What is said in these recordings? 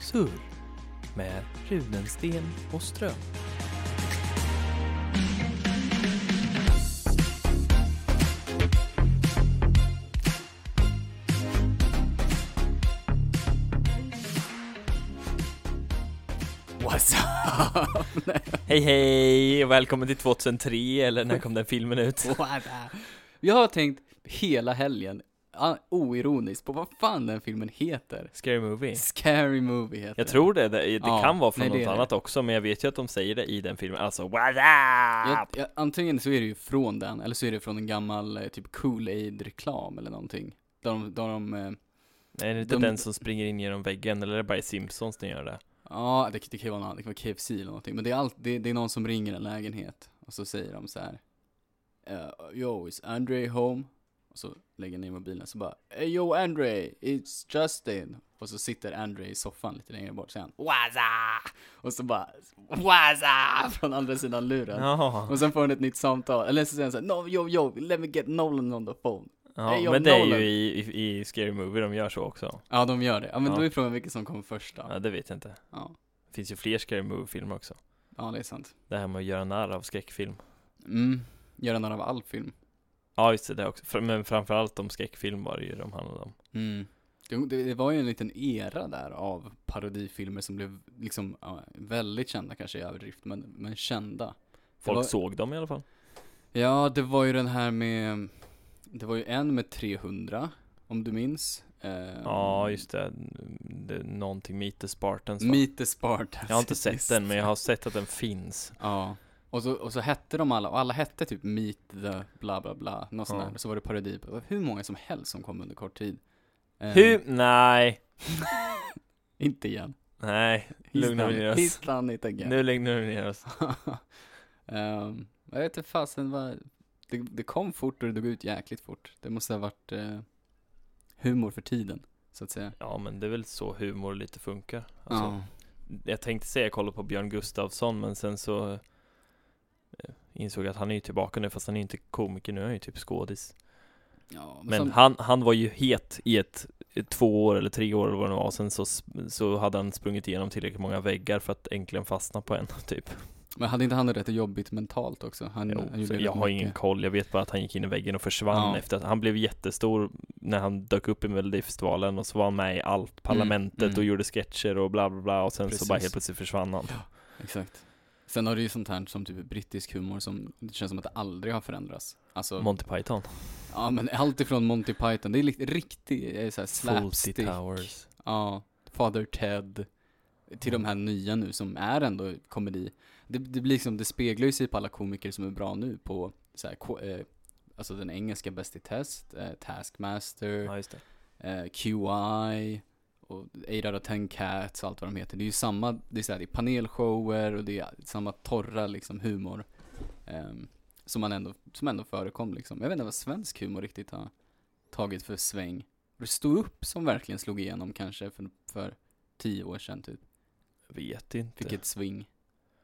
Sur med Rudensten och Ström. What's up? Hej hej och välkommen till 2003 eller när kom den filmen ut? What up? Jag har tänkt hela helgen, ah, oironiskt, på vad fan den filmen heter. Scary Movie. Scary Movie heter Jag tror det, det, det Ja, kan vara från nej, det något är det. annat också men jag vet ju att de säger det i den filmen, alltså what den. jag, up? jag, Antingen så är det ju från den, eller så är det från en gammal eh, typ Kool-Aid-reklam eller någonting. Där de, där de, eh, Är det inte de- den som springer in genom väggen eller är det bara i Simpsons den gör det? ja det, det kan ju vara något annat, det kan vara KFC eller någonting. Men det är, allt, det, det är någon som ringer en lägenhet och så säger de så här. eh, yo, is Andre home? Och så lägger han ner mobilen så bara "Eh, Yo Andre, it's Justin. Och så sitter Andre i soffan lite längre bort så säger han Waza! Och så bara Waza! Från andra sidan luren. Ja, Och sen får han ett nytt samtal. Eller så säger han så här, no, yo yo, let me get Nolan on the phone. Hej, ja jag men det är Nolan. ju i, i, i Scary Movie de gör så också. Ja de gör det. Ja men Ja. då är frågan vilken som kom först då. Ja, det vet jag inte. Ja, Det finns ju fler Scary Movie-filmer också. ja det är sant. Det här med att göra narr av skräckfilm. Mm. Göra några av all film. Ja just det, det också. Fr- Men framförallt om skräckfilm var det ju de handlade om. Mm. Det, det, det var ju en liten era där av parodifilmer som blev liksom ja, väldigt kända kanske i överdrift, men, men kända. Folk var- såg dem i alla fall. Ja, det var ju den här med, det var ju en med 300, om du minns. Eh, Ja just det, det är någonting Meet the Spartans va? Meet the Spartans. Jag har inte sett Just. den men jag har sett att den finns. Ja. Och så, och så hette de alla, och alla hette typ Meet the bla bla bla, något sånt Ja. där. Så var det parodi på det var hur många som helst som kom under kort tid. Eh, Hur? Nej, Inte igen. nej. Lugna He's done ner it. oss. He's done it again. Nu lugnar vi ner oss. Ehm, jag vet inte fasen vad, det, det kom fort och det dog ut jäkligt fort. Det måste ha varit eh, humor för tiden, så att säga. Ja men det är väl så humor lite funkar. Alltså, Jag tänkte säga jag kollade på Björn Gustafsson men sen så eh, insåg jag att han är ju tillbaka nu fast han är ju inte komiker nu, han är ju typ skådis. ja, Men som- han, han var ju het i ett, ett två år eller tre år eller vad det nu var, sen så, sp- så hade han sprungit igenom tillräckligt många väggar för att äntligen fastna på en, typ. men hade inte han det rätt jobbigt mentalt också? Han, Jo, han så gjorde jag rätt har mycket. ingen koll, jag vet bara att han gick in i väggen och försvann Ja. efter att, han blev jättestor när han dök upp i Melodifestivalen och så var han med i allt, Parlamentet mm. och gjorde sketcher och bla bla bla och sen så bara Precis. helt plötsligt försvann han. Exakt. Sen har du ju sånt här som typ brittisk humor som, det känns som att det aldrig har förändrats. Alltså, Monty Python, ja men allt ifrån Monty Python, det är li- riktig, eh, så här Fawlty slapstick. Towers. Ja, Father Ted. Till de här nya nu som är ändå komedi. Det, det, blir liksom, det speglar ju sig på alla komiker som är bra nu på så här, ko- eh, alltså den engelska Bäst i test, eh, Taskmaster, Ja, just det. eh, QI och 8 out of 10 cats och allt vad de heter. Det är ju samma, det är, så här, det är panelshower och det är samma torra liksom humor. ehm, som, man ändå, som ändå förekom liksom. Jag vet inte vad svensk humor riktigt har tagit för sväng. Det stod upp som verkligen slog igenom kanske för, för tio år sedan typ. Jag vet inte. Fick ett swing.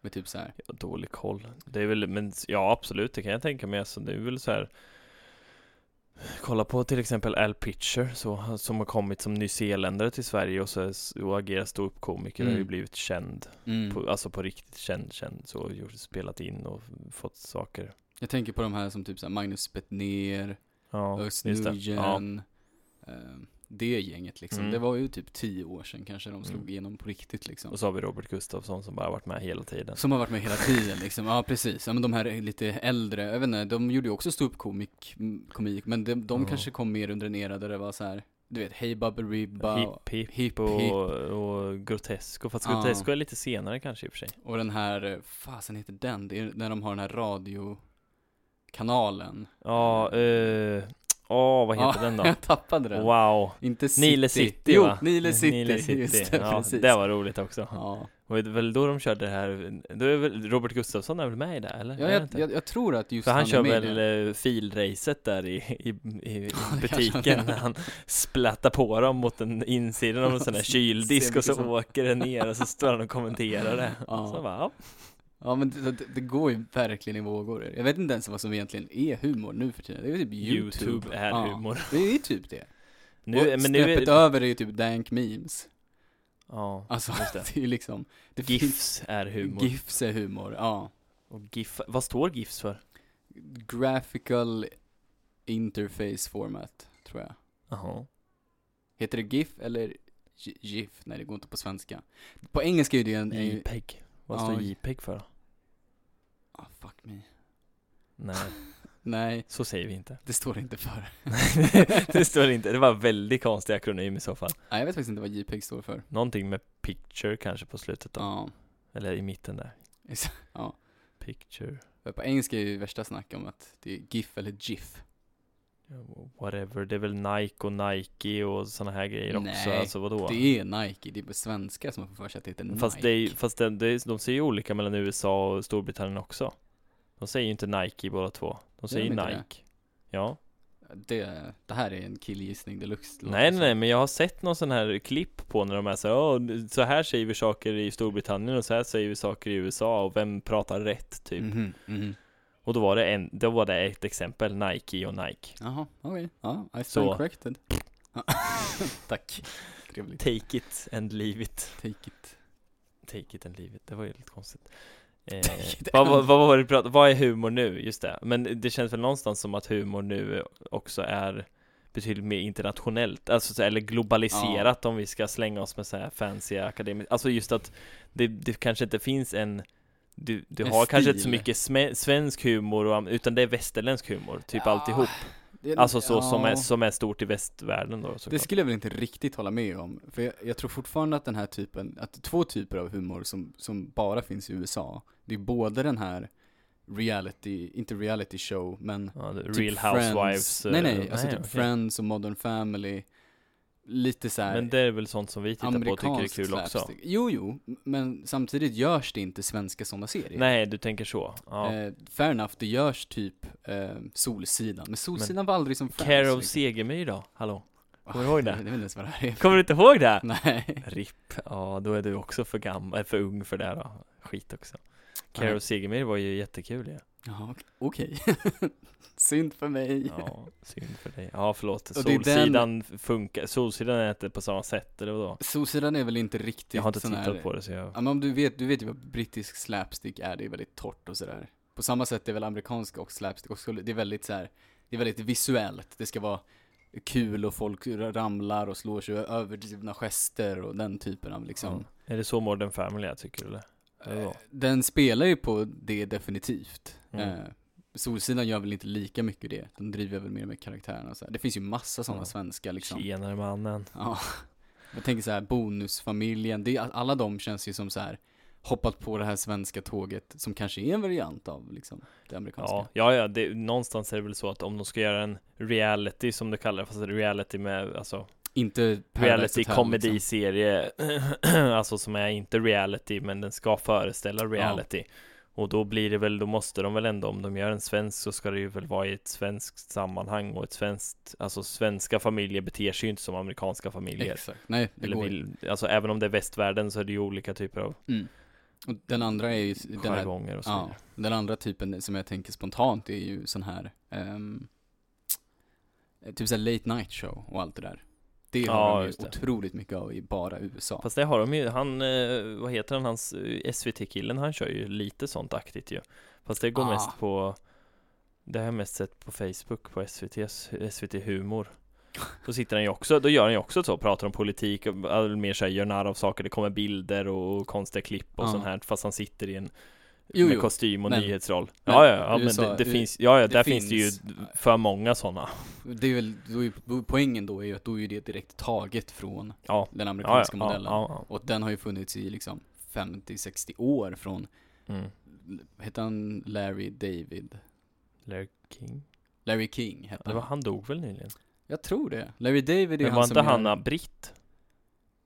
Med typ så här. Jag har dålig koll. Det är väl, men s- ja absolut, det kan jag tänka mig. Alltså, det är väl så här. Kolla på till exempel Al Pitcher så, som har kommit som nyzeeländare till Sverige och, så, är s- och agerar ståuppkomiker och har ju Mm. blivit känd. Mm. På, alltså på riktigt känd, känd. Så gjort, spelat in och fått saker. Jag tänker på de här som typ så här Magnus Bettner, Ja, Özz just det. Ja. Nujen. eh, Det gänget liksom. Mm. Det var ju typ tio år sedan kanske de slog Mm. igenom på riktigt liksom. Och så har vi Robert Gustafsson som bara varit med hela tiden. Som har varit med hela tiden liksom. Ja precis. Ja, men de här lite äldre, jag vet inte, de gjorde ju också ståuppkomik, m- komik. Men de, de Ja. kanske kom mer under en era där det var så här, du vet, Hey Bubba Ribba. och- Hipp hipp Hipp Hipp. och, och Grotesco. Fast Ja. Grotesco är lite senare kanske i och för sig. Och den här, eh, fasen heter den? Det är när de har den här radiokanalen. Ja, eh, åh vad heter Ja, den då? Jag tappade den. Wow. Inte City. Nile City jo, va? Nile City. City. Just det, ja, precis. det var roligt också. Ja. Och det är väl då de körde det här, då är väl Robert Gustafsson är väl med i det eller? Ja, Är det jag, inte? jag, jag tror att just För han är kör med i väl det. eh, filracet där i, i, i han gör. butiken när han splattar på dem mot en insidan av en sån där kyldisk Ser och så mycket som- åker det ner och så står han och kommenterar det. Ja. Så bara, ja. Ja men det, det, det går ju verkligen i vågor. Jag vet inte ens vad som egentligen är humor nu för tiden. Det är ju typ YouTube. YouTube är ja. humor. Det är ju typ det. Nu, och men nu snäppet är, över är ju typ dank memes. Ja, Alltså just det. det. är ju liksom det finns- GIFs är humor. GIFs är humor, ja. Och GIF, vad står GIFs för? Graphical Interface Format, tror jag. Jaha. Heter det GIF eller G- GIF? Nej, det går inte på svenska. På engelska är det ju en... är ju- JPEG. Vad Ja, står j- JPEG för då? Ah, fuck me. Nej, Nej, så säger vi inte. det står det inte för. det står inte. Det var en väldigt konstig akronym i så fall. Nej, jag vet faktiskt inte vad JPEG står för. Någonting med picture kanske på slutet då. Ja. Eller i mitten där. ex- ja. Picture, För På engelska är det ju värsta snack om att det är GIF eller GIF. whatever. Det är väl Nike och Nike och såna här grejer också. Nej, Alltså vadå? Det är Nike, det är på svenska som man får för sig att det heter Nike. Fast, det är, ju- fast det, det, är- de ser ju olika mellan USA och Storbritannien också. De säger ju inte Nike båda två. De säger de inte det? Nike. Ja. det, det här är en killgissning deluxe. det Nej, låter nej, nej, men jag har sett någon sån här klipp på när de är så här, "Åh, så här säger vi saker i Storbritannien och så här säger vi saker i USA och vem pratar rätt som. typ. Mhm, mhm. Och då var det en, då var det ett exempel, Nike och Nike. Jaha, okej. Ja, I stand Så. corrected. Tack. Trevligt. Take it and leave it. Take it. Take it and leave it, det var ju lite konstigt. Eh, Take it vad, and- vad, vad var det vi pratade Vad är humor nu? Just det. Men det känns väl någonstans som att humor nu också är betydligt mer internationellt, alltså, så- eller globaliserat om vi ska slänga oss med så här fancy akademiskt. Alltså just att det, det kanske inte finns en du, du En har kanske inte så stil. mycket sme, svensk humor, och, am- utan det är västerländsk humor, typ Ja, alltihop. det- Alltså så som, är, ja. som är stort i västvärlden då Det såklart. skulle jag väl inte riktigt hålla med om, för jag, jag tror fortfarande att den här typen, att två typer av humor som, som bara finns i USA, det är både den här reality, inte reality show, men Ja, det- Real typ Housewives. Friends. Nej eh, nej, alltså typ okej. Friends och Modern Family, lite så här Men det är väl sånt som vi tittar på och tycker är amerikansk kul också? slapstick. Jo jo, men samtidigt görs det inte svenska sådana serier. Nej, du tänker så? Ja. Eh, fair enough, det görs typ eh, Solsidan, men Solsidan var aldrig som Friends. Care of liksom. Segemyr då? Hallå? Ah, kommer du ihåg det? Jag vet inte ens vad det här är. Kommer du inte ihåg det? Nej. RIP. Ja, då är du också för gammal, eh, för ung för det då. Skit också. Care Nej. of Segemyr var ju jättekul ju. Ja, ok- okej. Synd för mig. Ja, synd för dig. Ja, förlåt. Och det är den- Solsidan funkar, Solsidan är inte på samma sätt, eller vadå? Solsidan är väl inte riktigt Jag har inte Typ sån tittat här... på det så jag... Ja, men om du vet, du vet ju vad brittisk slapstick är, det är väldigt torrt och sådär. På samma sätt är väl amerikansk och slapstick också, det är väldigt så här, det är väldigt visuellt. Det ska vara kul och folk ramlar och slår sig överdrivna gester och den typen av liksom. Ja. Är det så Modern Family är, tycker du eller? Eh, Ja. Den spelar ju på det definitivt. Mm. Eh, Solsidan gör väl inte lika mycket det, de driver väl mer med karaktärerna och så här. Det finns ju massa sådana Ja. svenska liksom. Tjenare mannen. Ja. Jag tänker så här, bonusfamiljen, det, är- alla de känns ju som så här hoppat på det här svenska tåget som kanske är en variant av liksom det amerikanska. Ja, ja, ja det, någonstans är det väl så att om de ska göra en reality som du kallar det, fast reality med, alltså Inte Paradise reality Hotel, liksom. komediserie, alltså som är inte reality, men den ska föreställa reality. Och då blir det väl, då måste de väl ändå, om de gör en svensk så ska det ju väl vara i ett svenskt sammanhang och ett svenskt, alltså svenska familjer beter sig ju inte som amerikanska familjer. Exakt. Nej, det Eller går vill, alltså även om det är västvärlden så är det ju olika typer av mm. Och den andra är ju s- den här, jargonger och så ja, vidare. den andra typen som jag tänker spontant är ju sån här ehm, typ såhär late night show och allt det där. Det har Ja, de ju just det. otroligt mycket av i bara USA. Fast det har de ju, han, eh, vad heter han, hans eh, SVT-killen, han kör ju lite sånt aktigt ju Fast det går Ah. mest på, det har jag mest sett på Facebook på SVT's, SVT Humor Då sitter han ju också, då gör han ju också så, pratar om politik, och all- mer såhär gör narr av saker, det kommer bilder och konstiga klipp och Ja. sånt här Fast han sitter i en Jo, med jo. kostym och men- nyhetsroll men Ja ja, ja men USA det, det det- finns, ja ja, det där finns, finns- det ju för många sådana Det är väl, då är, då- poängen då är ju att då är ju det direkt taget från Ja, den ja, ja, amerikanska ja, modellen. ja, Och den har ju funnits i liksom 50-60 år från, ja. Mm. hette han Larry David? Larry King? Larry King hette Det var, han. han dog väl nyligen? Jag tror det. Larry David är Men han var som inte han gör, britt?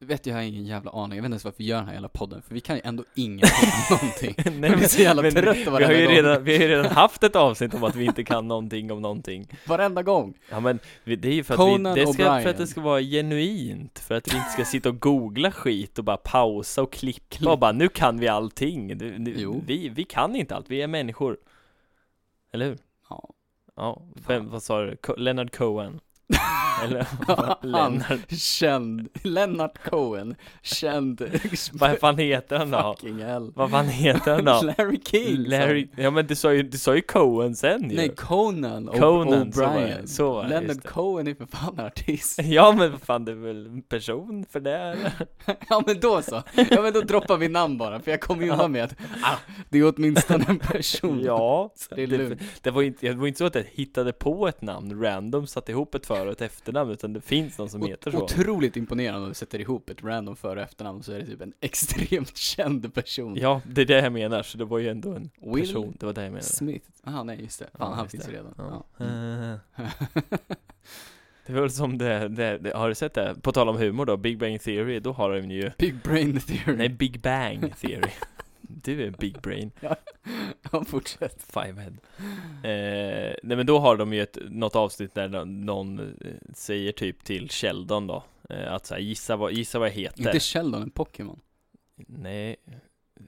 Vet jag, jag har ingen jävla aning. Jag vet inte ens varför vi gör den här jävla podden, för vi kan ju ändå ingenting om någonting. Nej, Jag blir så jävla trött vi varenda har, ju gång. redan, vi har ju redan haft ett avsnitt om att vi inte kan någonting om någonting Varenda gång. Ja men vi- det är ju för att, Conan vi, det ska, O'Brien. för att det ska vara genuint För att vi inte ska sitta och googla skit och bara pausa och klippa och bara nu kan vi allting Du- nu, Jo. vi, vi kan inte allt, vi är människor Eller hur? Ja. Ja, vem, vad sa du? Co- Leonard Cohen Eller Han, Lennart. känd, Lennart Cohen, känd, Vad fan heter han då? fucking hell. Vad fan heter han då? Larry King sa Larry, han. ja men du sa ju, du sa ju Cohen sen ju. Nej, Conan, O- Conan, så var det, O'Brien. så var det, just Leonard det. Cohen är för fan artist. Ja men vad fan det är väl en person för det eller? ja men då så, ja men då droppar vi namn bara, för jag kommer ju undan med att ah, det är åtminstone en person. Ja, Så det är det, lugnt. det, var ju inte, det var ju inte så att jag hittade på ett namn random, satte ihop ett för och ett efternamn utan det finns någon som Ot- heter så Otroligt imponerande om du sätter ihop ett random för och efternamn så är det typ en extremt känd person. Ja, det är det jag menar, så det var ju ändå en Will person, det var det jag menade Smith. Ah, nej just det. Fan, Ja, han just finns det. ju redan. Ja. Ja. Mm. Eh, Det var väl som det, det, det, har du sett det? På tal om humor då, Big Bang Theory, då har de ju Big brain theory. Nej, Big Bang Theory Du är Big Brain, Ja, fortsätt. Fivehead eh, Nej men då har de ju ett, något avsnitt där nå- någon eh, säger typ till Sheldon då eh, Att såhär, gissa vad, gissa vad jag heter Inte Sheldon, en Pokémon. Nej,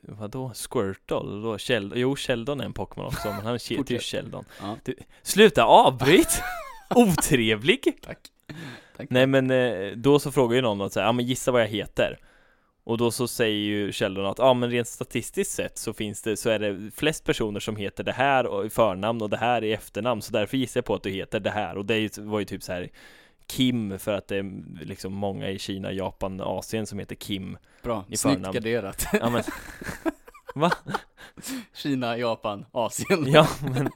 vadå? Squirtle? Då? Sheld- jo, Sheldon är en Pokémon också, men han heter ju Fortsätt. Sheldon. Ja. Du, sluta avbryt! Otrevlig! Tack. Tack. Nej men eh, då så frågar ju någon att säga, ja men gissa vad jag heter. Och då så säger ju Sheldon att, ja men rent statistiskt sett så finns det, så är det flest personer som heter det här och i förnamn och det här i efternamn, så därför gissar jag på att du heter det här. Och det är ju- var ju typ så här Kim, för att det är liksom många i Kina, Japan, Asien som heter Kim. Bra, i snyggt förnamn. garderat. Ja men, Kina, Japan, Asien. ja men.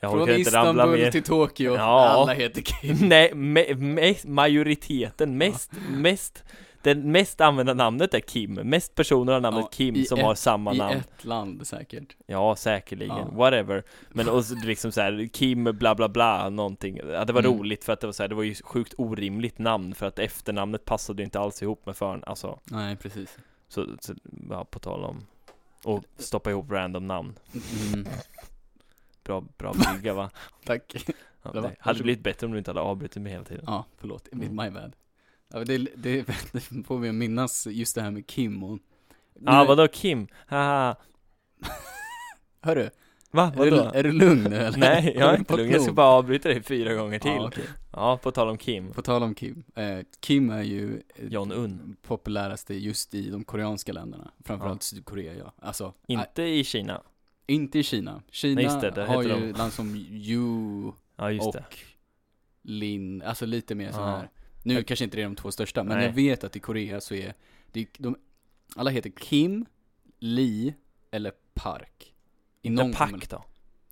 Jag Från orkar inte ramla Istanbul mer. till Tokyo. Ja. Alla heter Kim. Nej, me, me, majoriteten, mest, mest Den mest använda namnet är Kim, mest personer har namnet Ja, Kim i som ett- har samma I namn ett land säkert. Ja, säkerligen, Ja. whatever Men och så liksom så här, Kim bla bla bla någonting ja, Det var Mm. roligt för att det var så här, det var ju sjukt orimligt namn för att efternamnet passade ju inte alls ihop med förn, alltså Nej, precis. Så, så ja, på tal om Och stoppa ihop random namn Mm. Bra, bra brygga va? Tack. Ja, Det var- det hade blivit bättre om du inte hade avbrutit mig hela tiden Ja, förlåt. It my bad. Ja, men det, det får vi minnas just det här med Kim och... Ah vadå Kim? Haha Hörru, Va? är du, Vadå? är du lugn nu eller? Nej, jag är Håller du inte på lugn. Jag ska prov? bara avbryta dig fyra gånger till. Ja, Ja, okej. på tal om Kim. På tal om Kim. Eh, Kim är ju eh, John Unn. populäraste just i de koreanska länderna. Framförallt Sydkorea, ja. Alltså, nej, Inte i Kina. inte i Kina. Kina Nej, just det, där har heter ju de- land som Yu Ja, just och det. Lin, alltså lite mer sådana Ja. här. Nu kanske inte det är de två största, men Nej. jag vet att i Korea så är, det, är- de, alla heter Kim, Lee eller Park. I Inte kommer- Pak då?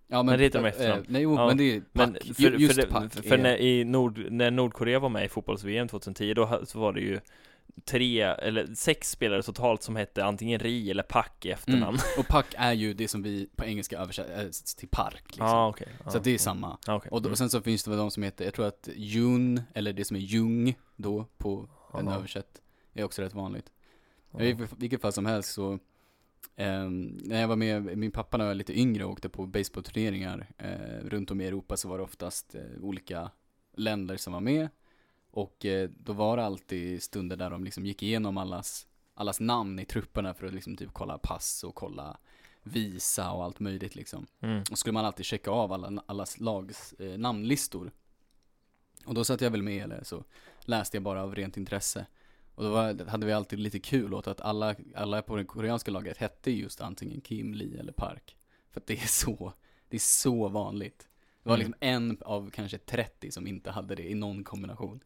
Ja, men, Nej, det heter de efternamn. eh, Nej, jo, Ja, men det är Park. Men Ju- för, just för, det, Park för är, när, i Nord, när Nordkorea var med i fotbolls-VM 2010, då ha- så var det ju tre, eller sex spelare totalt som hette antingen Ri eller Pak i efternamn. liksom. mm, och Park är ju det som vi på engelska översätter eh, till Park liksom. Ja, ah, okej. Ja, Så att det är mm. samma. Ja, okej. Och, då, Mm. och sen så finns det väl de som heter, jag tror att Jun, eller det som är Jung då på en Ja. översätt, är också rätt vanligt. Ja. I vil- vilket fall som helst så, ehm, när jag var med min pappa när jag var lite yngre och åkte på baseballturneringar eh, runt om i Europa så var det oftast eh, olika länder som var med. Och eh, då var det alltid stunder där de liksom gick igenom allas, allas namn i trupperna för att liksom typ kolla pass och kolla visa och allt möjligt liksom. Mm. Och skulle man alltid checka av alla, allas lags eh, namnlistor. Och då satt jag väl med eller så läste jag bara av rent intresse. Och då var, hade vi alltid lite kul åt att alla, alla på det koreanska laget hette just antingen Kim, Lee eller Park. För att det är så, det är så vanligt. Det var Mm. liksom en av kanske 30 som inte hade det i någon kombination.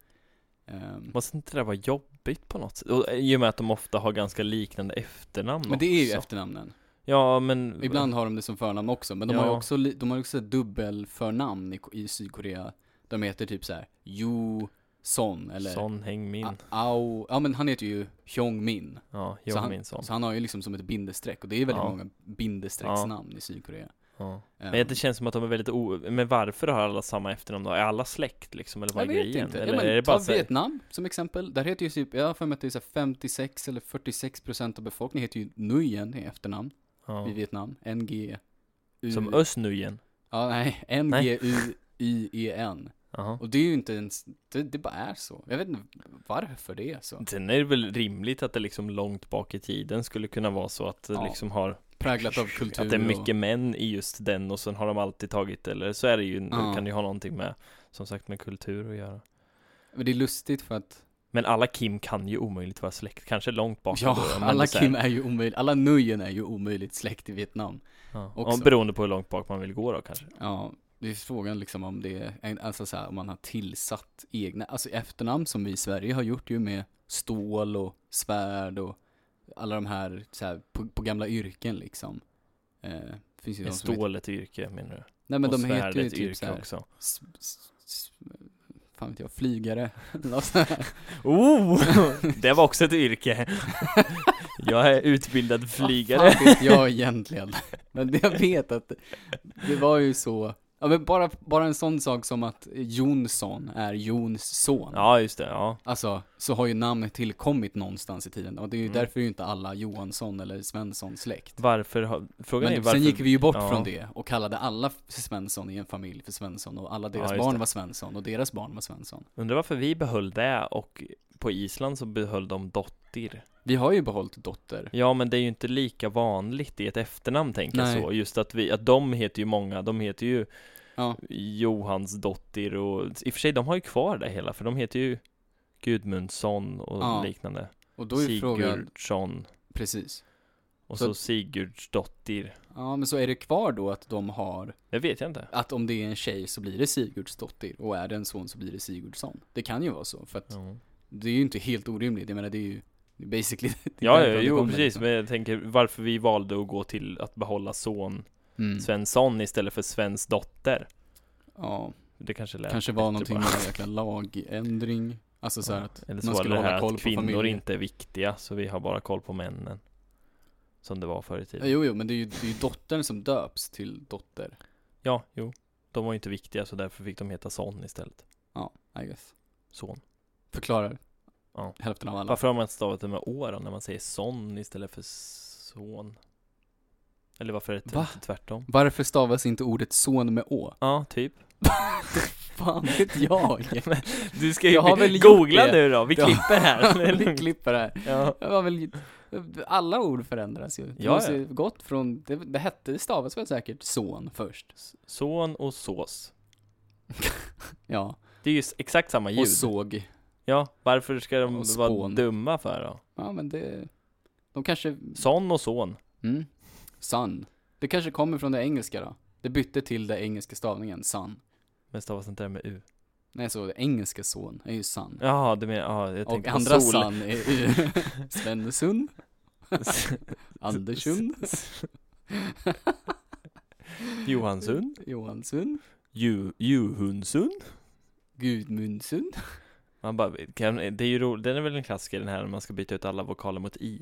Ehm, Måste inte det där vara jobbigt på något sätt? Och, eh, I och med att de ofta har ganska liknande efternamn men det är ju också. efternamnen. Ja, men Ibland har de det som förnamn också, men de Ja. har ju också, li- de har ju också dubbelförnamn i, i Sydkorea. De heter typ så här Jo Son eller Son Häng Min. A- Ao, ja men han heter ju Hyung Min. Ja, så, jag han, minns sånt. så han har ju liksom som ett bindestreck och det är väldigt Ja. många bindestrecksnamn i Sydkorea. Ja. Ehm, Men det känns som att de är väldigt o... Men varför har alla samma efternamn då? Är alla släkt liksom? Eller vad jag är vet grejen? inte. Eller ja, men, är det ta bara så här- Vietnam som exempel. Där heter ju typ, jag har för mig att det är så här 56 eller 46 procent av befolkningen heter ju Nguyen i efternamn i ja. Vietnam. NG. U- Som Öst nu igen? Ja, nej. Nej. E N-G-U-I-E-N. Jaha. Och det är ju inte ens, det, det bara är så. Jag vet inte varför det är så. Sen är det väl rimligt att det liksom långt bak i tiden skulle kunna vara så att det Ja. liksom har Präglat av kultur Att det är och, mycket män i just den och sen har de alltid tagit eller så är det ju, Ja. kan det ju ha någonting med Som sagt med kultur att göra Men det är lustigt för att, Men alla Kim kan ju omöjligt vara släkt, kanske långt bak ja, då, men alla så här- Kim är ju omöjligt, alla Nujen är ju omöjligt släkt i Vietnam. ja. också. och Beroende på hur långt bak man vill gå då kanske Ja, det är frågan liksom om det är, en- alltså så här, om man har tillsatt egna, alltså efternamn som vi i Sverige har gjort ju med stål och svärd och alla de här, så här på, på gamla yrken liksom. Eh, finns ju Är de som heter- stål ett yrke menar du? Nej men och de svärd heter ju ett typ yrke så här, också s, s, s, fan vet jag, flygare. Något sånt här. Oh! Det var också ett yrke Jag är utbildad flygare Vad fan vet jag egentligen? Men jag vet att det var ju så, ja men bara, bara en sån sak som att Jonsson är Jons son. Ja just det, ja Alltså, så har ju namnet tillkommit någonstans i tiden och det är ju Mm. därför är ju inte alla Johansson eller Svensson släkt. Varför har, frågan Men är varför sen gick vi ju bort ja. från det och kallade alla Svensson i en familj för Svensson och alla deras Ja, just barn det. var Svensson och deras barn var Svensson. Undrar varför vi behöll det och på Island så behöll de dottir. Vi har ju behållit dotter. Ja men det är ju inte lika vanligt i ett efternamn tänker Nej. jag så. Just att vi, att de heter ju många, de heter ju Ja, Johansdottir och i och för sig de har ju kvar det hela för de heter ju Gudmundsson och Ja. liknande. och då är ju frågan, Sigurdsson precis. och Så- så, Sigurdsdottir. Ja, men så är det kvar då att de har, Det vet jag inte. att om det är en tjej så blir det Sigurdsdottir och är det en son så blir det Sigurdsson. Det kan ju vara så, för att Ja, det är ju inte helt orimligt, jag menar det är ju det är basically det är ja, därifrån ja det jo kommer, precis. liksom. Men jag tänker varför vi valde att gå till att behålla son Mm. Svensson istället för Svensdotter. Ja, Det kanske lät kanske var någonting bara. med en jäkla lagändring. Alltså så här att Eller så man var det skulle det hålla här koll att på kvinnor familjen. inte är viktiga, så vi har bara koll på männen. Som det var förr i Ja, tiden. Jo, jo, men det är ju, det är ju dottern som döps till dotter. Ja, jo. De var ju inte viktiga, så därför fick de heta son istället. Ja, I guess. Son. Förklarar Ja. hälften av alla. Varför har man stavat det med å då, när man säger son istället för son? Eller varför är det Va? tvärt- tvärtom? Varför stavas inte ordet son med å? Ja, typ. Fan vet jag. Du ska ju Jag har väl gjort googla det. nu då, vi Ja. klipper här. Det är Vi lugnt. klipper det här. ja. Det var väl, alla ord förändras ju. Det Ja, måste ja. ju gått från, det, det hette, det stavas väl säkert son först. Son och sås. Ja, Det är ju s- exakt samma ljud. och såg. Ja, varför ska de vara Och spån. dumma för då? Ja, men det, de kanske, Son och son. mm, sun. Det kanske kommer från det engelska då. Det bytte till det engelska stavningen, sun. Men stavas inte det med u? Nej, så det engelska son är ju sun. Jaha, du menar, ja, jag Och tänkte andra på sol. sun är ju Svensson, Andersson, Johansson, Johansson, Ju- Juhundsson. Gudmundsson. Man bara, kan, det är ju roligt, den är väl en klassiker den här när man ska byta ut alla vokaler mot i.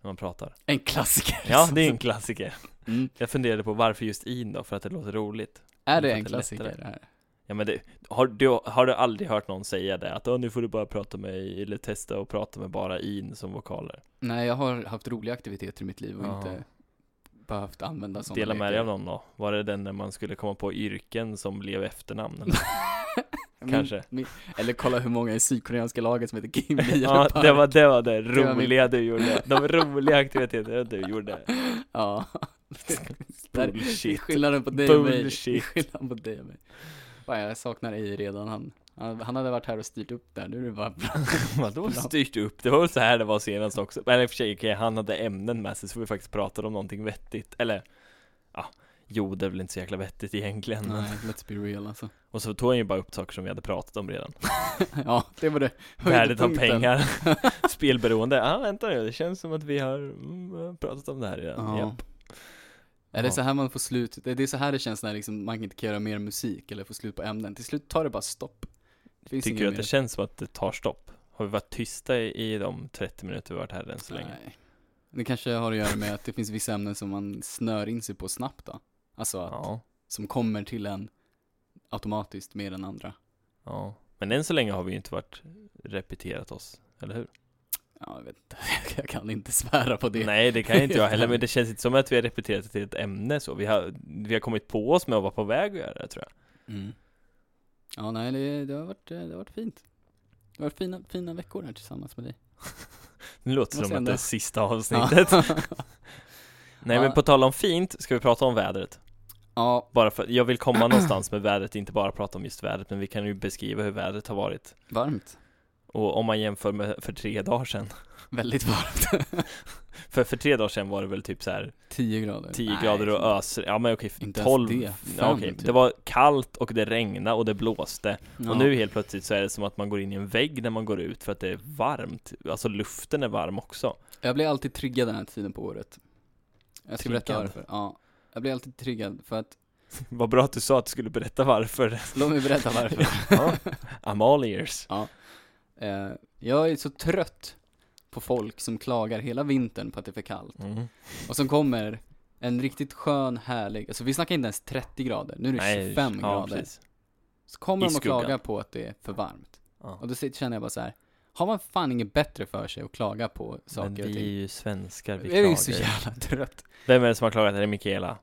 När man pratar. En klassiker. Ja, det är en klassiker. Mm. Jag funderade på varför just i då, för att det låter roligt. Är det Det en låter klassiker lättare. det här? Ja men det, har, du, har du aldrig hört någon säga det? Att "Åh, nu får du bara prata med, i", eller testa och prata med bara in som vokaler. Nej, jag har haft roliga aktiviteter i mitt liv och Ja. inte behövt använda sådana Dela med dig av någon då. Var det den när man skulle komma på yrken som blev efternamn? Eller? kanske. Min, eller kolla hur många i sydkoreanska laget som heter Kim Lee Ja, det var det, var det var min- roliga du gjorde. De roliga aktiviteterna du gjorde. Ja. Där- Det är Bullshit. skillnaden på dig och mig. Det är Bullshit. skillnaden på dig och mig. Fan, jag saknar ej redan. Han, han, han hade varit här och styrt upp där. Nu är det bara Vadå styrt upp? Det var väl så här det var senast också. Men i och för sig, okej, han hade ämnen med sig så vi faktiskt pratade om någonting vettigt. Eller, ja, jo det är väl inte så jävla vettigt egentligen. men- Nej, let's be real alltså. Och så tog han ju bara upp saker som vi hade pratat om redan. Ja, det var det. Värdet av höjdpunkten. pengar, spelberoende. Ja, ah, vänta nu, det känns som att vi har mm, pratat om det här redan. Ja. Ja. Är det Ja. så här man får slut? Det det är så här det känns när liksom man inte kan göra mer musik eller få slut på ämnen. Till slut tar det bara stopp. Det finns Tycker inget du att mer. det känns som att det tar stopp? Har vi varit tysta i, i de 30 minuter vi varit här än så länge? Nej. Det kanske har att göra med att det finns vissa ämnen som man snör in sig på snabbt då. Alltså att, Ja, som kommer till en automatiskt mer än andra. ja. Men än så länge har vi ju inte varit repeterat oss, eller hur? Ja, jag vet inte. Jag kan inte svära på det. Nej, det kan ju inte jag heller, men det känns inte som att vi har repeterat det till ett ämne så. Vi har, vi har kommit på oss med att vara på väg att göra det, tror jag. Mm. Ja, nej, det, det, har, varit, eh, det har varit fint. Det har varit fina, fina veckor här tillsammans med dig. Det låter Måste som att ändå- det är sista avsnittet. Nej Ja. men på tal om fint, ska vi prata om vädret? ja, Bara för, jag vill komma någonstans med vädret, inte bara prata om just vädret, men vi kan ju beskriva hur vädret har varit. varmt. Och om man jämför med för tre dagar sedan. Väldigt varmt. För, för tre dagar sedan var det väl typ så här 10 grader. 10 Nej, grader och öser, ja men okej, Inte ens 12, det. ja, Fem, okej. typ. det var kallt och det regnade och det blåste. Ja. Och nu helt plötsligt så är det som att man går in i en vägg när man går ut för att det är varmt. Alltså luften är varm också. Jag blir alltid triggad den här tiden på året. Jag ska berätta Triggad? varför. Ja. Jag blir alltid triggad för att, Vad bra att du sa att du skulle berätta varför. låt mig berätta varför. ja, I'm all ears. Eh, jag är så trött på folk som klagar hela vintern på att det är för kallt. Mm. Och sen kommer en riktigt skön, härlig, alltså vi snackar inte ens 30 grader, nu är det 25 ja, grader. precis. Så kommer I de och skuggan. klagar på att det är för varmt. Ja. Och då sitter- känner jag bara så här. har man fan inget bättre för sig att klaga på Men saker och vi är ting? ju svenskar, vi Jag är ju så klagar. jävla trött. Vem är det som har klagat? Är det Mikaela?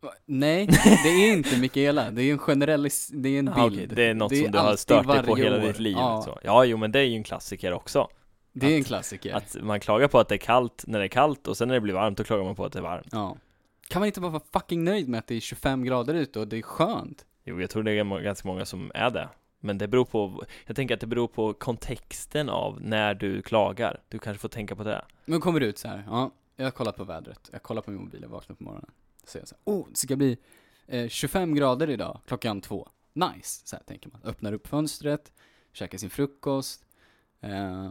Va? Nej, det är inte Mikaela, det är en generalis, det är en bild. Ah, okej, Det är något som du har alltid stört dig på varje hela år. ditt liv. Ja, Så. Ja, jo men det är ju en klassiker också. det är en Att- klassiker. Att man klagar på att det är kallt när det är kallt och sen när det blir varmt då klagar man på att det är varmt. Ja. Kan man inte bara vara fucking nöjd med att det är 25 grader ute och det är skönt? Jo, jag tror det är mo- ganska många som är det. Men det beror på, jag tänker att det beror på kontexten av när du klagar. Du kanske får tänka på det. Men kommer det ut så här, ja, jag har kollat på vädret, jag kollar på min mobil, jag vaknar på morgonen. Så säger jag så här, oh, det ska bli eh, 25 grader idag, klockan två. Nice, så här tänker man. Öppnar upp fönstret, käkar sin frukost, eh,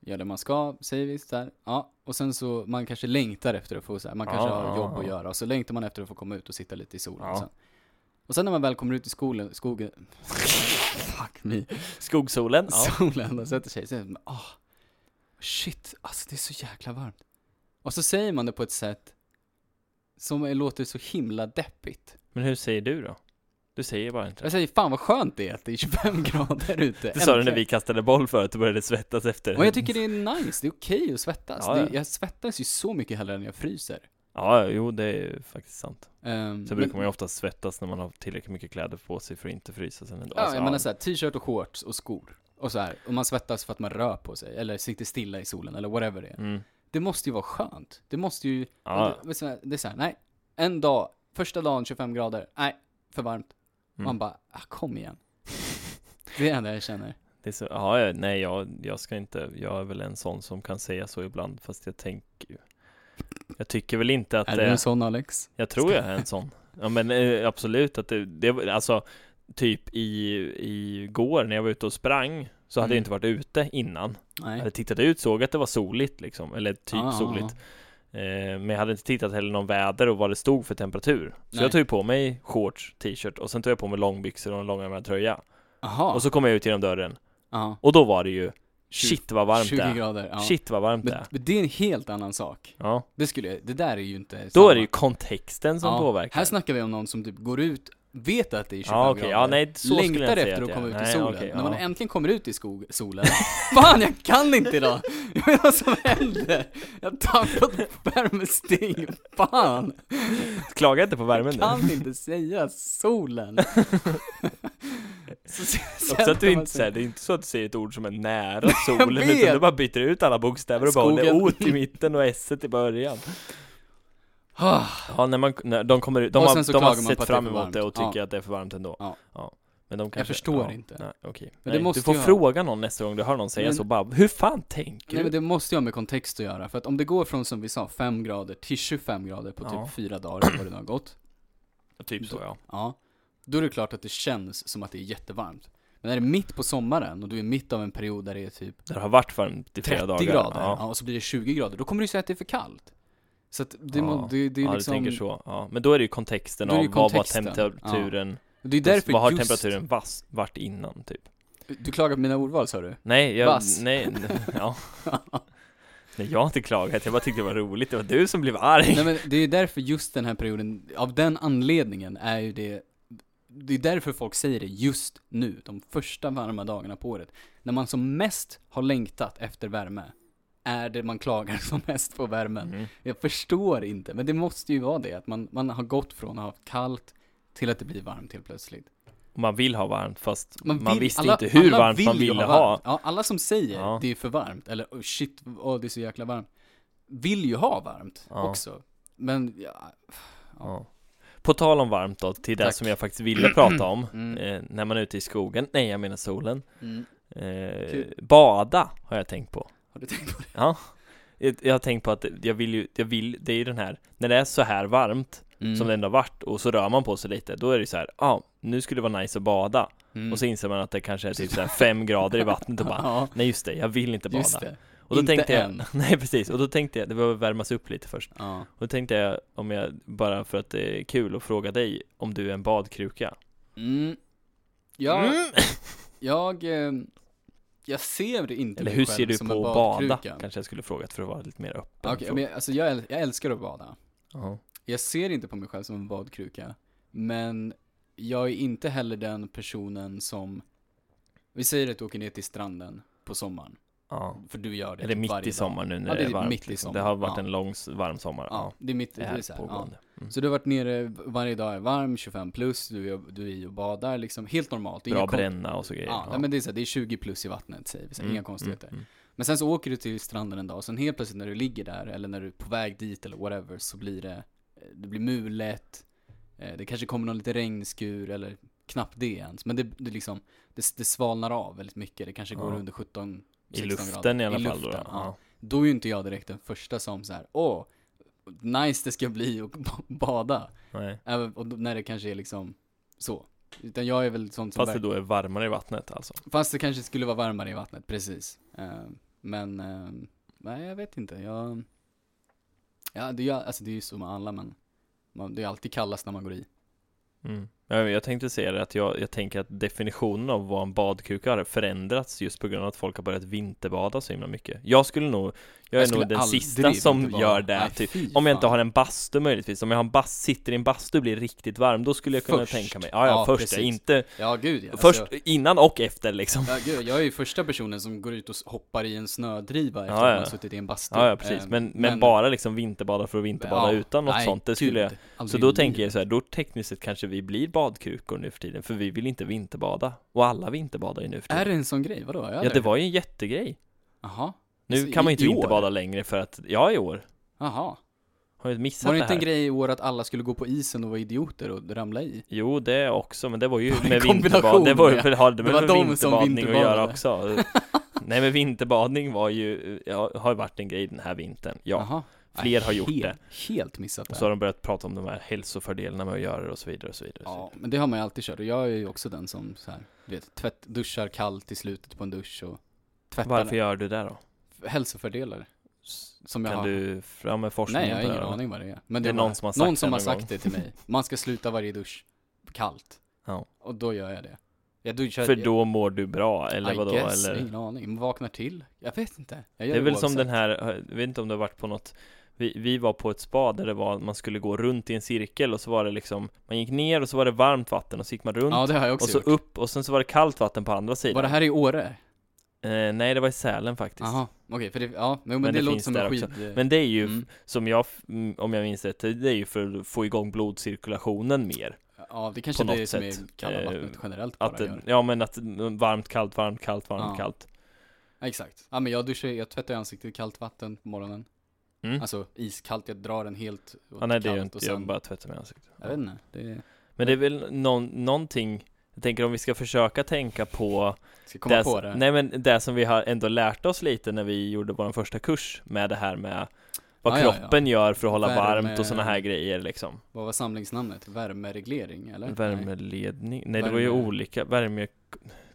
gör det man ska, säger vi så här. Ja, och sen så, man kanske längtar efter att få så här, man kanske Ja, har ja, jobb att ja. göra, och så längtar man efter att få komma ut och sitta lite i solen Ja. sen. Och sen när man väl kommer ut i skolen, skogen, fuck me Skogssolen? Ja. solen och sätter sig. Så är det, ah, shit, alltså det är så jäkla varmt. Och så säger man det på ett sätt som är- låter så himla deppigt. Men hur säger du då? Du säger bara inte det. Jag säger fan vad skönt det är att det är 25 grader ute. Det sa du när Äntligen. vi kastade boll förut och började svettas efter. Och jag tycker det är nice, det är okej att svettas. Ja, det, ja. jag svettas ju så mycket hellre än jag fryser. Ja, jo det är faktiskt sant. Um, Sen brukar man ju oftast svettas när man har tillräckligt mycket kläder på sig för att inte frysa sen ändå. Ja, Alltså, jag menar såhär, t-shirt och shorts och skor. Och så här, och man svettas för att man rör på sig, eller sitter stilla i solen, eller whatever det är. Mm. Det måste ju vara skönt. Det måste ju Ja, Och Det, så här- det är såhär, nej, en dag, första dagen 25 grader, nej, för varmt. Mm. Man bara, ah, kom igen. Det är det enda jag känner. det är så, ja, ja, nej jag, jag ska inte, jag är väl en sån som kan säga så ibland fast jag tänker ju Jag tycker väl inte att är det, du en sån Alex? jag tror jag är en sån Ja men eh, absolut att det, det alltså Typ i, i går när jag var ute och sprang Så hade Mm. jag inte varit ute innan Jag Nej. hade tittat ut, såg att det var soligt liksom, eller typ Ah, ah, soligt ah. Eh, Men jag hade inte tittat heller någon väder och vad det stod för temperatur. Så Nej. jag tog ju på mig shorts, t-shirt och sen tog jag på mig långbyxor och en långärmad tröja. Aha. Och så kom jag ut genom dörren ja. och då var det ju Ah. Tjugo- shit vad varmt 20 det är. grader. Ja. Shit vad varmt det Men, är. men det är en helt annan sak. Ja. Det, skulle, jag- det där är ju inte Då är det ju kontexten som Ja, påverkar. Här snackar vi om någon som typ går ut, vet att det är 25 ja, okej. grader. Ja, nej, så skulle jag inte längtar säga efter att jag komma är. ut i Nej, solen. okej, När man ja. äntligen kommer ut i skog, solen. Fan, jag kan inte idag! Jag vet vad som händer! Jag har tappat värmesting, fan! Klaga inte på värmen Jag nu. kan inte säga solen! Så, sen- Också sen att du kan man inte säger, säga- det är inte så att du säger ett ord som är nära solen, alltså. vet. utan du bara byter ut alla bokstäver och bara håller Skogen. o i mitten och s i början. Ah, Ja, när man, när de kommer ut, de Och har, sen så de har klagar man på sett att det är fram för emot det och varmt. Ja. tycker att det är för varmt ändå. Ja. Men de kanske, förstår ja, inte. Nej, okej. det Nej, måste du får ju ha- fråga någon nästa gång du hör någon säga Men- så bara, hur fan tänker Nej men du? det måste ju ha med kontext att göra, för att om det går från som vi sa 5 grader till 25 grader på typ Ja. 4 dagar, vad det nu har gått. Typ så ja. Ja, då är det klart att det känns som att det är jättevarmt. Men är det mitt på sommaren och du är mitt av en period där det är typ Det har varit varmt i 30 flera dagar. grader, ja. Ja. och så blir det 20 grader, då kommer du säga att det är för kallt. Så att det, må, Ja. det, det är Ja, liksom, du tänker så. Ja. Men då är det ju kontexten Då är det av ju vad var kontexten. temperaturen, det är därför vad har just, temperaturen vass, varit innan typ? du klagar på mina ordval sa du? Nej, jag, Vass. nej, ja. Nej, jag har inte klagat, jag bara tyckte det var roligt, det var du som blev arg. Nej men det är därför just den här perioden, av den anledningen är ju det, det är därför folk säger det just nu, de första varma dagarna på året. När man som mest har längtat efter värme, är det man klagar som mest på värmen. Mm. Jag förstår inte, men det måste ju vara det. Att man, man har gått från att ha haft kallt till att det blir varmt helt plötsligt. Man vill ha varmt fast man, visste alla- inte hur alla varmt man vill ju ville ha. varmt. Ja, alla som säger Ja. det är för varmt, eller oh shit, åh det är så jäkla varmt. Vill ju ha varmt Ja. också. Men, ja, Ja. På tal om varmt då, till det Tack. som jag faktiskt ville prata om. Mm. Eh, när man är ute i skogen, nej jag menar solen. mm, Eh, Kul. bada har jag tänkt på. har du tänkt på det? Ja. Jag- Jag har tänkt på att jag vill ju, jag vill, det är ju den här, när det är så här varmt Mm. som det ändå har varit och så rör man på sig lite, då är det ju så här, ja, ah, nu skulle det vara nice att bada. Mm. Och så inser man att det kanske är typ så här fem grader i vattnet och bara, ja, nej just det, jag vill inte bada. just det. Och då Inte tänkte jag, än. nej precis, och då tänkte jag, det behöver värmas upp lite först. Ja. Och då tänkte jag om jag, bara för att det är kul att fråga dig om du är en badkruka. Mm. Jag, Mm. jag, eh, jag ser det inte Eller mig hur själv ser du som på en att bada? badkruka. Kanske jag skulle frågat för att vara lite mer öppen. Okej, fråga. men jag, alltså jag, äl- jag älskar att bada. Ja. Jag ser inte på mig själv som en badkruka, men jag är inte heller den personen som, vi säger att du åker ner till stranden på sommaren, ja. för du gör det Eller typ mitt varje i dag. sommaren nu när Ja, det, det är är varmt. mitt i liksom. Det sommaren. har varit Ja. en lång, s- varm sommar. Ja, Ja. det är mitt, det Det är är så här, ja. pågående. Mm. Så du har varit nere varje dag, är varm, 25 plus, du är, du är och badar liksom, helt normalt. Bra inga kon- bränna och så grejer. Ja, nej, men det är så här, det är 20 plus i vattnet säger vi, så här, Mm, inga konstigheter. mm, mm. Men sen så åker du till stranden en dag, och sen helt plötsligt när du ligger där, eller när du är på väg dit eller whatever, så blir det, eh, det blir mulet, eh, det kanske kommer någon lite regnskur, eller knappt det ens. Men det, det liksom, det, det svalnar av väldigt mycket, det kanske går Ja. under 17, 16 I luften grader. i alla fall då. luften, Ja. Då är ju inte jag direkt den första som så här, åh, nice det ska bli att b- bada. Nej. Även, och då- när det kanske är liksom så. Utan jag är väl sånt som Fast det då är varmare i vattnet alltså. Fast det kanske skulle vara varmare i vattnet, precis. Eh, men, eh, nej jag vet inte. Jag, ja, det, är, ju- alltså, det är ju så med alla, men man, det är alltid kallast när man går i. Mm. Ja, men Jag tänkte säga det att jag, jag tänker att definitionen av vad en badkruka har förändrats just på grund av att folk har börjat vinterbada så himla mycket. Jag skulle nog, jag är skulle nog den aldrig sista som inte vara- gör det. Nej, typ. fy Om jag inte fan. har en bastu möjligtvis, om jag har en bast, sitter i en bastu och blir riktigt varm, då skulle jag kunna Först. tänka mig. Ja, ja, Ja, först ja, precis. inte, Ja, gud ja. först Alltså, innan och efter liksom. ja, gud, jag är ju första personen som går ut och s- hoppar i en snödriva efter Ja, ja. att man har suttit i en bastu. Ja, ja precis. Eh, Men, men, bara liksom vinterbada för att vinterbada ja, utan något nej, sånt, det skulle jag gud, Alltså, så aldrig i då livet. tänker jag så här, då tekniskt sett kanske vi blir badkrukor nu för tiden, för vi vill inte vinterbada. Och alla vinterbadar ju nu för tiden. Är det en sån grej? Vadå? Jag Ja, det var ju en jättegrej. Jaha. Nu Alltså, kan man ju i- inte i år? vinterbada längre för att, ja i år. Jaha. Har ju missat Var det det, inte här. en grej i år att alla skulle gå på isen och vara idioter och ramla i? Jo, det också, men det var ju Var det med kombination vinterbad. Det var ju med- för, hade det med var de som vinterbadning att göra vinterbadade. också. Nej men vinterbadning var ju, ja, har ju varit en grej den här vintern. Ja, Jaha. fler Nej, har gjort helt, det. Helt missat det. Och så har de börjat prata om de här hälsofördelarna med att göra det och så vidare och så vidare. och så Ja, men det har man ju alltid kört och jag är ju också den som så här, du vet, tvätt, duschar kallt i slutet på en dusch och vidare. tvättar Varför gör du det då? hälsofördelar som jag Kan har. du fram med forskningen Nej, på jag har det ingen här? aning vad det är. Men det, Det är var- någon som har sagt någon som det har någon gång. sagt det till mig. Man ska sluta varje dusch kallt. Ja. Och då gör jag det. Jag duschar, För då mår du bra, eller I vadå? guess, eller? ingen aning. Man vaknar till. Jag vet inte. Jag gör Det är väl som oavsett. den här, eh, jag vet inte om det har varit på något vi, vi var på ett spa där det var, man skulle gå runt i en cirkel och så var det liksom Man gick ner och så var det varmt vatten och så gick man runt Ja, det har jag också Och så gjort. upp och sen så var det kallt vatten på andra sidan Var det här i Åre? eh, Nej det var i Sälen faktiskt Jaha, okej, för det, ja, men, men, Men det, det låter finns som där en också. skid... Men det är ju, Mm. som jag, f- mm, om jag minns rätt, det är ju för att få igång blodcirkulationen mer Ja, det kanske på det är något som är sätt, kalla eh, vattnet generellt bara att, det- gör. Ja men att mm, varmt, kallt, varmt, kallt, varmt, Ja. kallt Ja, exakt. Ja, men jag duschar, jag tvättar ansiktet i kallt vatten på morgonen. mm. Alltså iskallt, jag drar den helt åt ja, Nej det är ju kallt inte, och sen, jag bara tvättar mig i ansiktet Jag vet inte, det Men det är väl någon, någonting Jag tänker om vi ska försöka tänka på ska komma det, på det. Nej men det som vi har ändå lärt oss lite när vi gjorde vår första kurs med det här med vad Ja, ja, ja. kroppen gör för att hålla Värme- varmt och sådana här grejer liksom Vad var samlingsnamnet? Värmereglering, eller? Nej. Värmeledning, nej det var ju Värme- olika, värme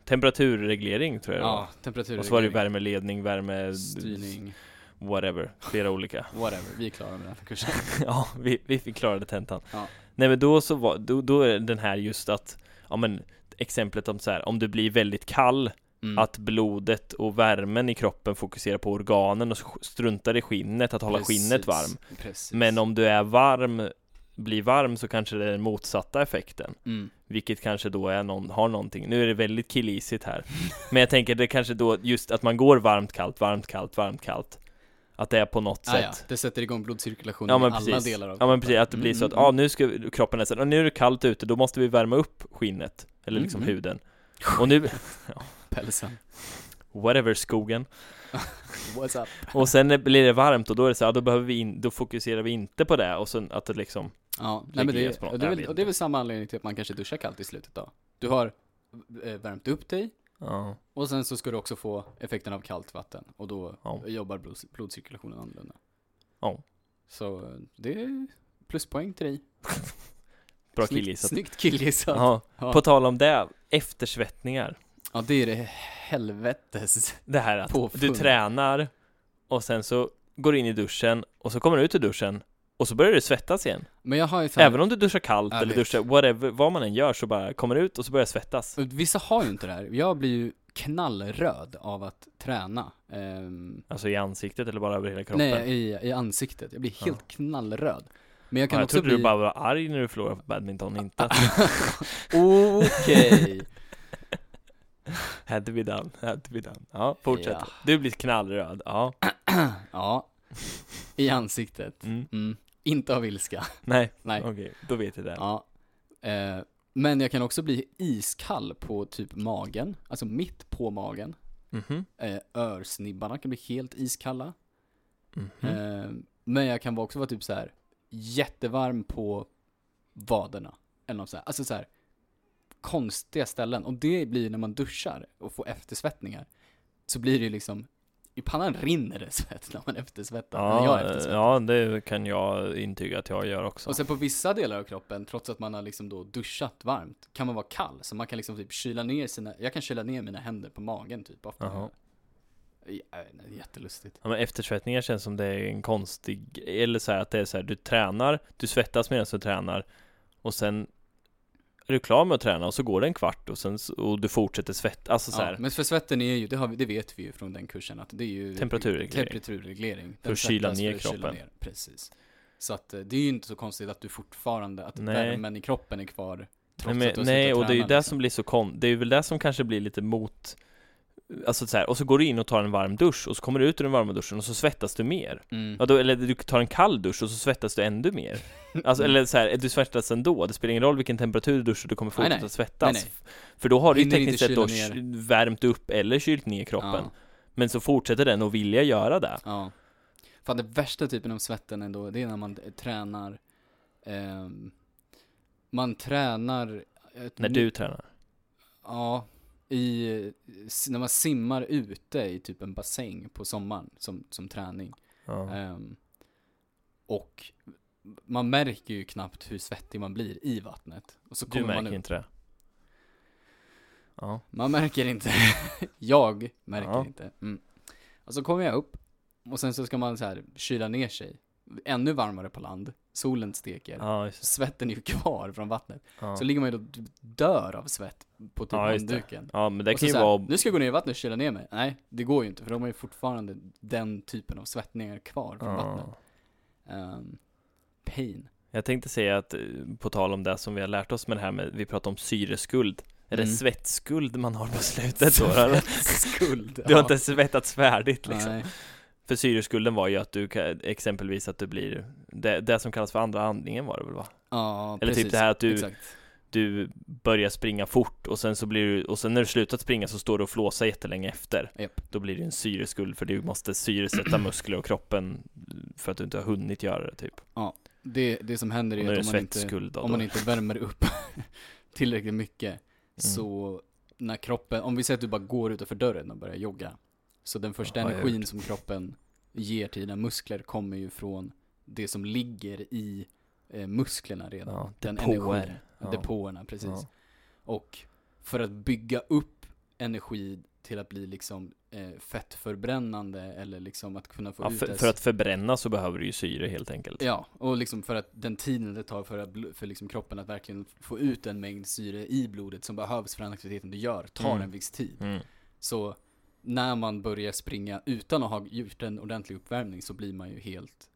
Temperaturreglering tror jag det var Ja, temperatur. Och så var det ju värmeledning, värme... Styrning, Whatever, flera olika whatever. Vi är klara med den här kursen. Ja, vi, vi fick klarade tentan Ja. Nej men då så var, då, då är den här just att Ja men exemplet om så här, om du blir väldigt kall Mm. att blodet och värmen i kroppen fokuserar på organen och sk- struntar i skinnet, att hålla skinnet Precis, varm. Precis. Men om du är varm, blir varm så kanske det är den motsatta effekten. Mm. Vilket kanske då är någon, har någonting, nu är det väldigt killisigt här. Men jag tänker det kanske då, just att man går varmt, kallt, varmt, kallt, varmt, kallt. Att det är på något Ah, ja, sätt. det sätter igång blodcirkulationen Ja men i alla precis. delar av Ja men precis, kroppen. att det blir Mm, så att, mm, ja ah, nu ska vi- kroppen är så här, "Ah, nu är det kallt ute, då måste vi värma upp skinnet. Eller liksom Mhm. huden. Och nu, Pälsen. whatever skogen. What's up? Och sen när det blir det varmt och då är det så här, då behöver vi in, då fokuserar vi inte på det och sen att det liksom Ja, nej, men det, Regleras på något, och, det jag är väl, vet och det är väl samma anledning till att man kanske duschar kallt i slutet då. Du har eh, värmt upp dig Ja, och sen så ska du också få effekten av kallt vatten och då Ja. jobbar blods, blodcirkulationen annorlunda. Ja. Så eh, det är pluspoäng till dig. bra Snyggt- killgissat Snyggt killgissat. ja. Ja. På tal om det, eftersvettningar Ja, det är det helvetes. Det här att Påfund. du tränar och sen så går du in i duschen och så kommer du ut ur duschen och så börjar du svettas igen Men jag har ju så här, Även om du duschar kallt Jag eller vet. duschar whatever, vad man än gör så bara kommer du ut och så börjar du svettas vissa har ju inte det här. Jag blir ju knallröd av att träna. Ehm, Alltså i ansiktet eller bara över hela kroppen nej, i, i ansiktet. Jag blir Ja. helt knallröd. Men jag Ja, kan jag också trodde bli... du bara var arg när du förlorade på badminton, inte att Okej. had to be done, had to be done Ja, fortsätt Ja. Du blir knallröd, ja ja. I ansiktet. mm. Mm. Inte av ilska. Nej, Nej. okej, då vet jag det Ja. Eh, men jag kan också bli iskall på typ magen. Alltså mitt på magen. Mhm. Eh, örsnibbarna kan bli helt iskalla. Mhm. Eh, men jag kan också vara typ så här jättevarm på vaderna. Eller något så här. Alltså så här konstiga ställen. Och det blir när man duschar och får eftersvettningar. Så blir det ju liksom, i pannan rinner det svett när man eftersvettar. när jag Ja, eh, eftersvettas. ja, det kan jag intyga att jag gör också Och sen på vissa delar av kroppen, trots att man har liksom då duschat varmt, kan man vara kall. Så man kan liksom typ kyla ner sina, jag kan kyla ner mina händer på magen typ ofta. Jaha. Ja, det är jättelustigt. Ja, men eftersvettningar känns som det är en konstig, eller så här att det är så här, du tränar, du svettas medan du tränar och sen är du klar med att träna och så går det en kvart och sen s- och du fortsätter svettas, alltså så här, Ja, men för svetten är ju, det, har vi, det vet vi ju från den kursen, att det är ju Temperaturreglering. temperaturreglering. Den För att kyla svettas ner för att kyla kroppen. ner, Precis. Så att eh, det är ju inte så konstigt att du fortfarande, att Nej. värmen i kroppen är kvar trots nej, att du men, har nej slutat och det är ju träna, det liksom. som blir så kon, det är väl det som kanske blir lite mot Alltså så här, och så går du in och tar en varm dusch och så kommer du ut ur den varma duschen och så svettas du mer Mm. ja, då, Eller du tar en kall dusch och så svettas du ändå mer Alltså eller så här, du svettas ändå, det spelar ingen roll vilken temperatur du duschar, du kommer Nej, fortsätta nej. svettas Nej, För då har du ju Hinner inte tekniskt sett kyla då ky- värmt upp eller kylt ner kroppen Ja. Men så fortsätter den att vilja göra det Ja. Fan, den värsta typen av svetten ändå, det är när man eh, tränar, ehm, man tränar... ett När ny- du tränar Ja, i, eh, s- när man simmar ute i typ en bassäng på sommaren som, som träning. ja. Ehm, och man märker ju knappt hur svettig man blir i vattnet. Och så Du kommer man märker ut. inte det Ja, Man märker inte. jag märker Ja. inte. Mm. Och så kommer jag upp. Och sen så ska man så här kyla ner sig. Ännu varmare på land. Solen steker. ja just det Svetten är ju kvar från vattnet. ja. Så ligger man ju då typ dör av svett på typ Ja, just det. handduken. ja, men det Och så kan ju så här, vara Nu ska jag gå ner i vattnet och kyla ner mig. Nej, det går ju inte för de har ju fortfarande den typen av svettningar kvar från vattnet. ja. Ehm, pain. Jag tänkte säga att eh, på tal om det som vi har lärt oss med det här med, vi pratar om syreskuld Är det Mm. svettskuld man har på slutet då? eller? Skuld. Du har ja. inte svettats färdigt liksom Nej. För syresskulden var ju att du kan- exempelvis att du blir Det, det som kallas för andra andningen var det väl va? Ja, Eller precis. typ det här att du Exakt. du börjar springa fort och sen så blir du, och sen när du slutat springa så står du och flåsar jättelänge efter. Japp. Då blir det en syreskuld för du måste syresätta muskler och kroppen för att du inte har hunnit göra det typ. Det, det som händer Och är när det är att om man inte svettskuld då. om man då- inte värmer upp tillräckligt mycket Mm. så när kroppen, om vi säger att du bara går utanför dörren och börjar jogga. Så den första Ja, jag har energin som kroppen ger till dina muskler kommer ju från det som ligger i eh, musklerna redan. Ja, den depåer. energin. Ja. Depåerna, precis. Ja. Och för att bygga upp energi till att bli liksom eh, fettförbrännande eller liksom att kunna få Ja, ut för, det- för att förbränna så behöver du ju syre helt enkelt. Ja, och liksom för att den tiden det tar för, att, bl- för liksom kroppen att verkligen få ut den mängd syre i blodet som behövs för den aktiviteten du gör tar Mm. en viss tid. Mm. Så när man börjar springa utan att ha gjort en ordentlig uppvärmning så blir man ju helt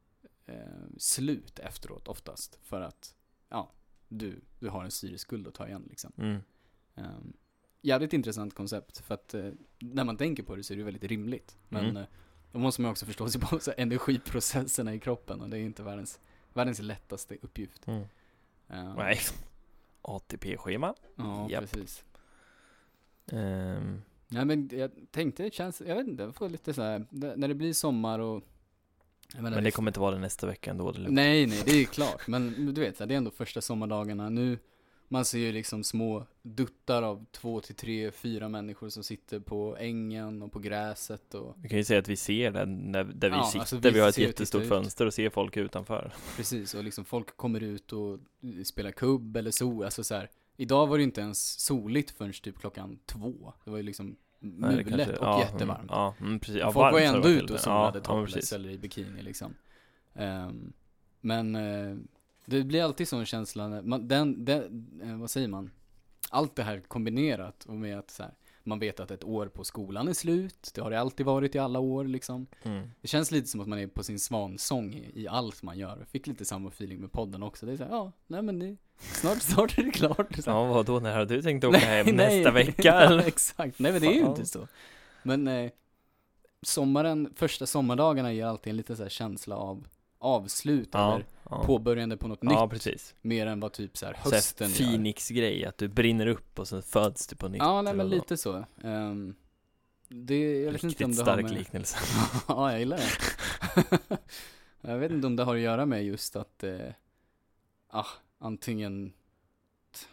eh, slut efteråt oftast. För att, ja, du, du har en syreskuld att ta igen liksom. Mm. Ehm, jävligt intressant koncept för att eh, när man tänker på det så är det väldigt rimligt. Men Mm. eh, då måste man också förstå sig på så här, energiprocesserna i kroppen och det är inte världens, världens lättaste uppgift. Mm. Ehm, Nej. ATP-schema. Ja, Japp. precis. Ehm, Nej men jag tänkte det känns, jag vet inte, jag får lite så här, n- när det blir sommar och jag menar, men det kommer inte vara det nästa vecka ändå, det är lugnt. Nej nej, det är ju klart, men du vet så här, det är ändå första sommardagarna nu Man ser ju liksom små duttar av två till tre, fyra människor som sitter på ängen och på gräset och Vi kan ju säga att vi ser den när, där vi Ja, sitter, alltså vi, vi har ett ser och jättestort tittar ut. fönster och ser folk utanför. precis och liksom folk kommer ut och spelar kubb eller sol, alltså så här Idag var det ju inte ens soligt förrän typ klockan två, det var ju liksom Nej, det mulet kanske- och ja, jättevarmt mm, Ja, mm, precis. Ja, Folk var varmt ju så ändå det ute och till. solade ja, ja, men topless precis. eller i bikini liksom. Ehm, men eh, det blir alltid sån känsla när man, den, den eh, vad säger man? Allt det här kombinerat och med att så här, man vet att ett år på skolan är slut, det har det alltid varit i alla år liksom. Mm. Det känns lite som att man är på sin svansång i, i allt man gör. Jag fick lite samma feeling med podden också. Det är såhär, ja, nej men det, snart, snart är det klart. Så här, Ja, vadå, när har du tänkt åka hem nästa vecka ja, eller? exakt. Nej men det är ju Fan. inte så. Men eh, sommaren, första sommardagarna ger alltid en liten så här känsla av avslut Ja, eller ja. påbörjande på något ja nytt. precis. Mer än vad typ så här Så här hösten gör. Phoenix-grej, att du brinner upp och sen föds du på nytt. Ja, nej eller men vad. lite så. Ehm, det, jag vet Riktigt inte om det har stark med... liknelse. ja, jag gillar det. jag vet inte om det har att göra med just att eh, ah, antingen t-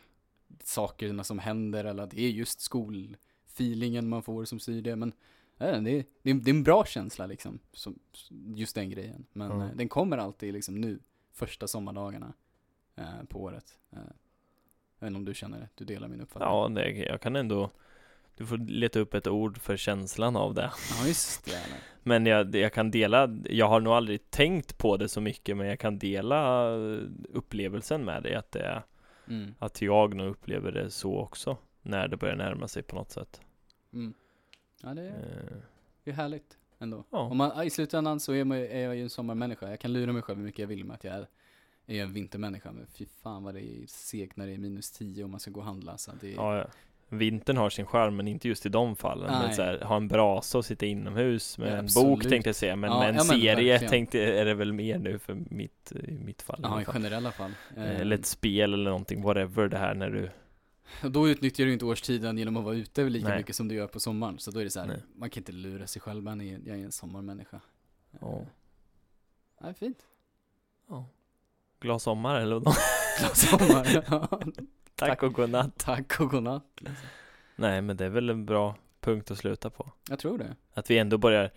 sakerna som händer eller att det är just skolfeelingen man får som styr det. Men jag vet inte, det, är, det, är, det är en bra känsla liksom, som, just den grejen. Men Mm. eh, den kommer alltid liksom nu, första sommardagarna eh, på året. Eh, jag vet inte om du känner det, du delar min uppfattning. Ja, det, jag kan ändå Du får leta upp ett ord för känslan av det ja just det. Eller? Men jag, jag kan dela Jag har nog aldrig tänkt på det så mycket Men jag kan dela eh, upplevelsen med dig Att, det, är- Mm. att jag nog upplever det så också När det börjar närma sig på något sätt Mm. Ja, det är Eh, Det är härligt ändå. Ja. Om man, I slutändan så är, man, ju- är jag ju en sommarmänniska. Jag kan lura mig själv hur mycket jag vill med att jag är, är en vintermänniska. Men fy fan vad det är segt när det är minus 10 och man ska gå och handla. Så det är, ja, ja. Vintern har sin charm men inte just i de fallen Men Nej. så här, ha en brasa och sitta inomhus med Ja, en absolut. bok tänkte jag säga Men Ja, med en ja, men serie verkligen. tänkte, är det väl mer nu för mitt, i mitt fall i alla ja, i fall. generella fall. Eh, Eh, Eller ett spel eller någonting, whatever det här när du och då utnyttjar du ju inte årstiden genom att vara ute lika Nej. mycket som du gör på sommaren. Så då är det så här, Nej. man kan inte lura sig själv. Man är, jag är en sommarmänniska. Eh, Ja. Ja, fint. Glad sommar eller något. Glad sommar. Ja, Tack Tack. och godnatt. Tack och godnatt. Nej, men det är väl en bra punkt att sluta på. Jag tror det. Att vi ändå börjar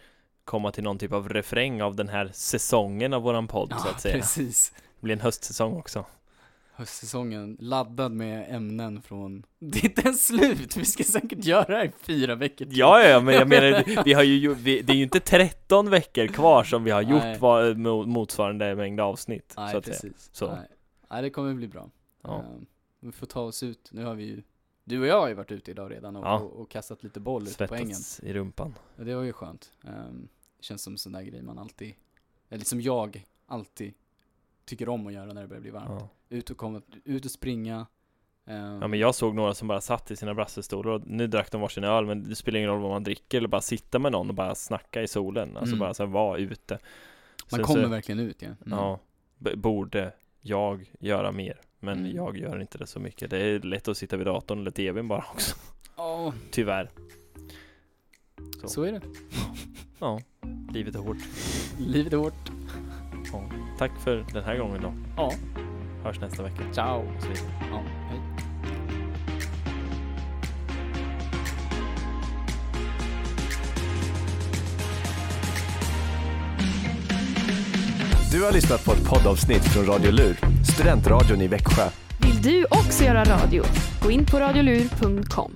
komma till någon typ av refräng av den här säsongen av våran podd så Ja, att säga. precis. Det blir en höstsäsong också. Höstsäsongen laddad med ämnen från... Det är inte ens slut! Vi ska säkert göra det här i fyra veckor till. Ja, ja, men jag menar, vi har ju, gjort- vi, det är ju inte 13 veckor kvar som vi har Nej. gjort var, mo- motsvarande mängd avsnitt. så Nej, att säga. precis. Så. Nej. Nej, det kommer bli bra. Ja. Ehm, vi får ta oss ut. Nu har vi ju... Du och jag har ju varit ute idag redan och, Ja. och, och kastat lite boll ute på ängen. Svettas i rumpan. Och Det var ju skönt. Ehm, känns som sån där grej man alltid... Eller som jag alltid tycker om att göra när det börjar bli varmt. Ja. Ut och komma, ut och springa. ehm, Ja men jag såg några som bara satt i sina brassestolar och nu drack de varsin öl men det spelar ingen roll vad man dricker eller bara sitta med någon och bara snacka i solen Alltså Mm. bara så här, vara ute man Sen kommer så, verkligen ut ja. Mm. Ja b- Borde jag göra mer Men Mm. jag gör inte det så mycket Det är lätt att sitta vid datorn eller tvn bara också Ja, Tyvärr Så. så är det. Ja Livet är hårt Livet är hårt. ja. Tack för den här gången då Ja. Hörs nästa vecka Ciao. Så vi- Ja, hej. Du har lyssnat på ett poddavsnitt från Radio Lur, studentradion i Växjö. Vill du också göra radio? Gå in på radiolur.com.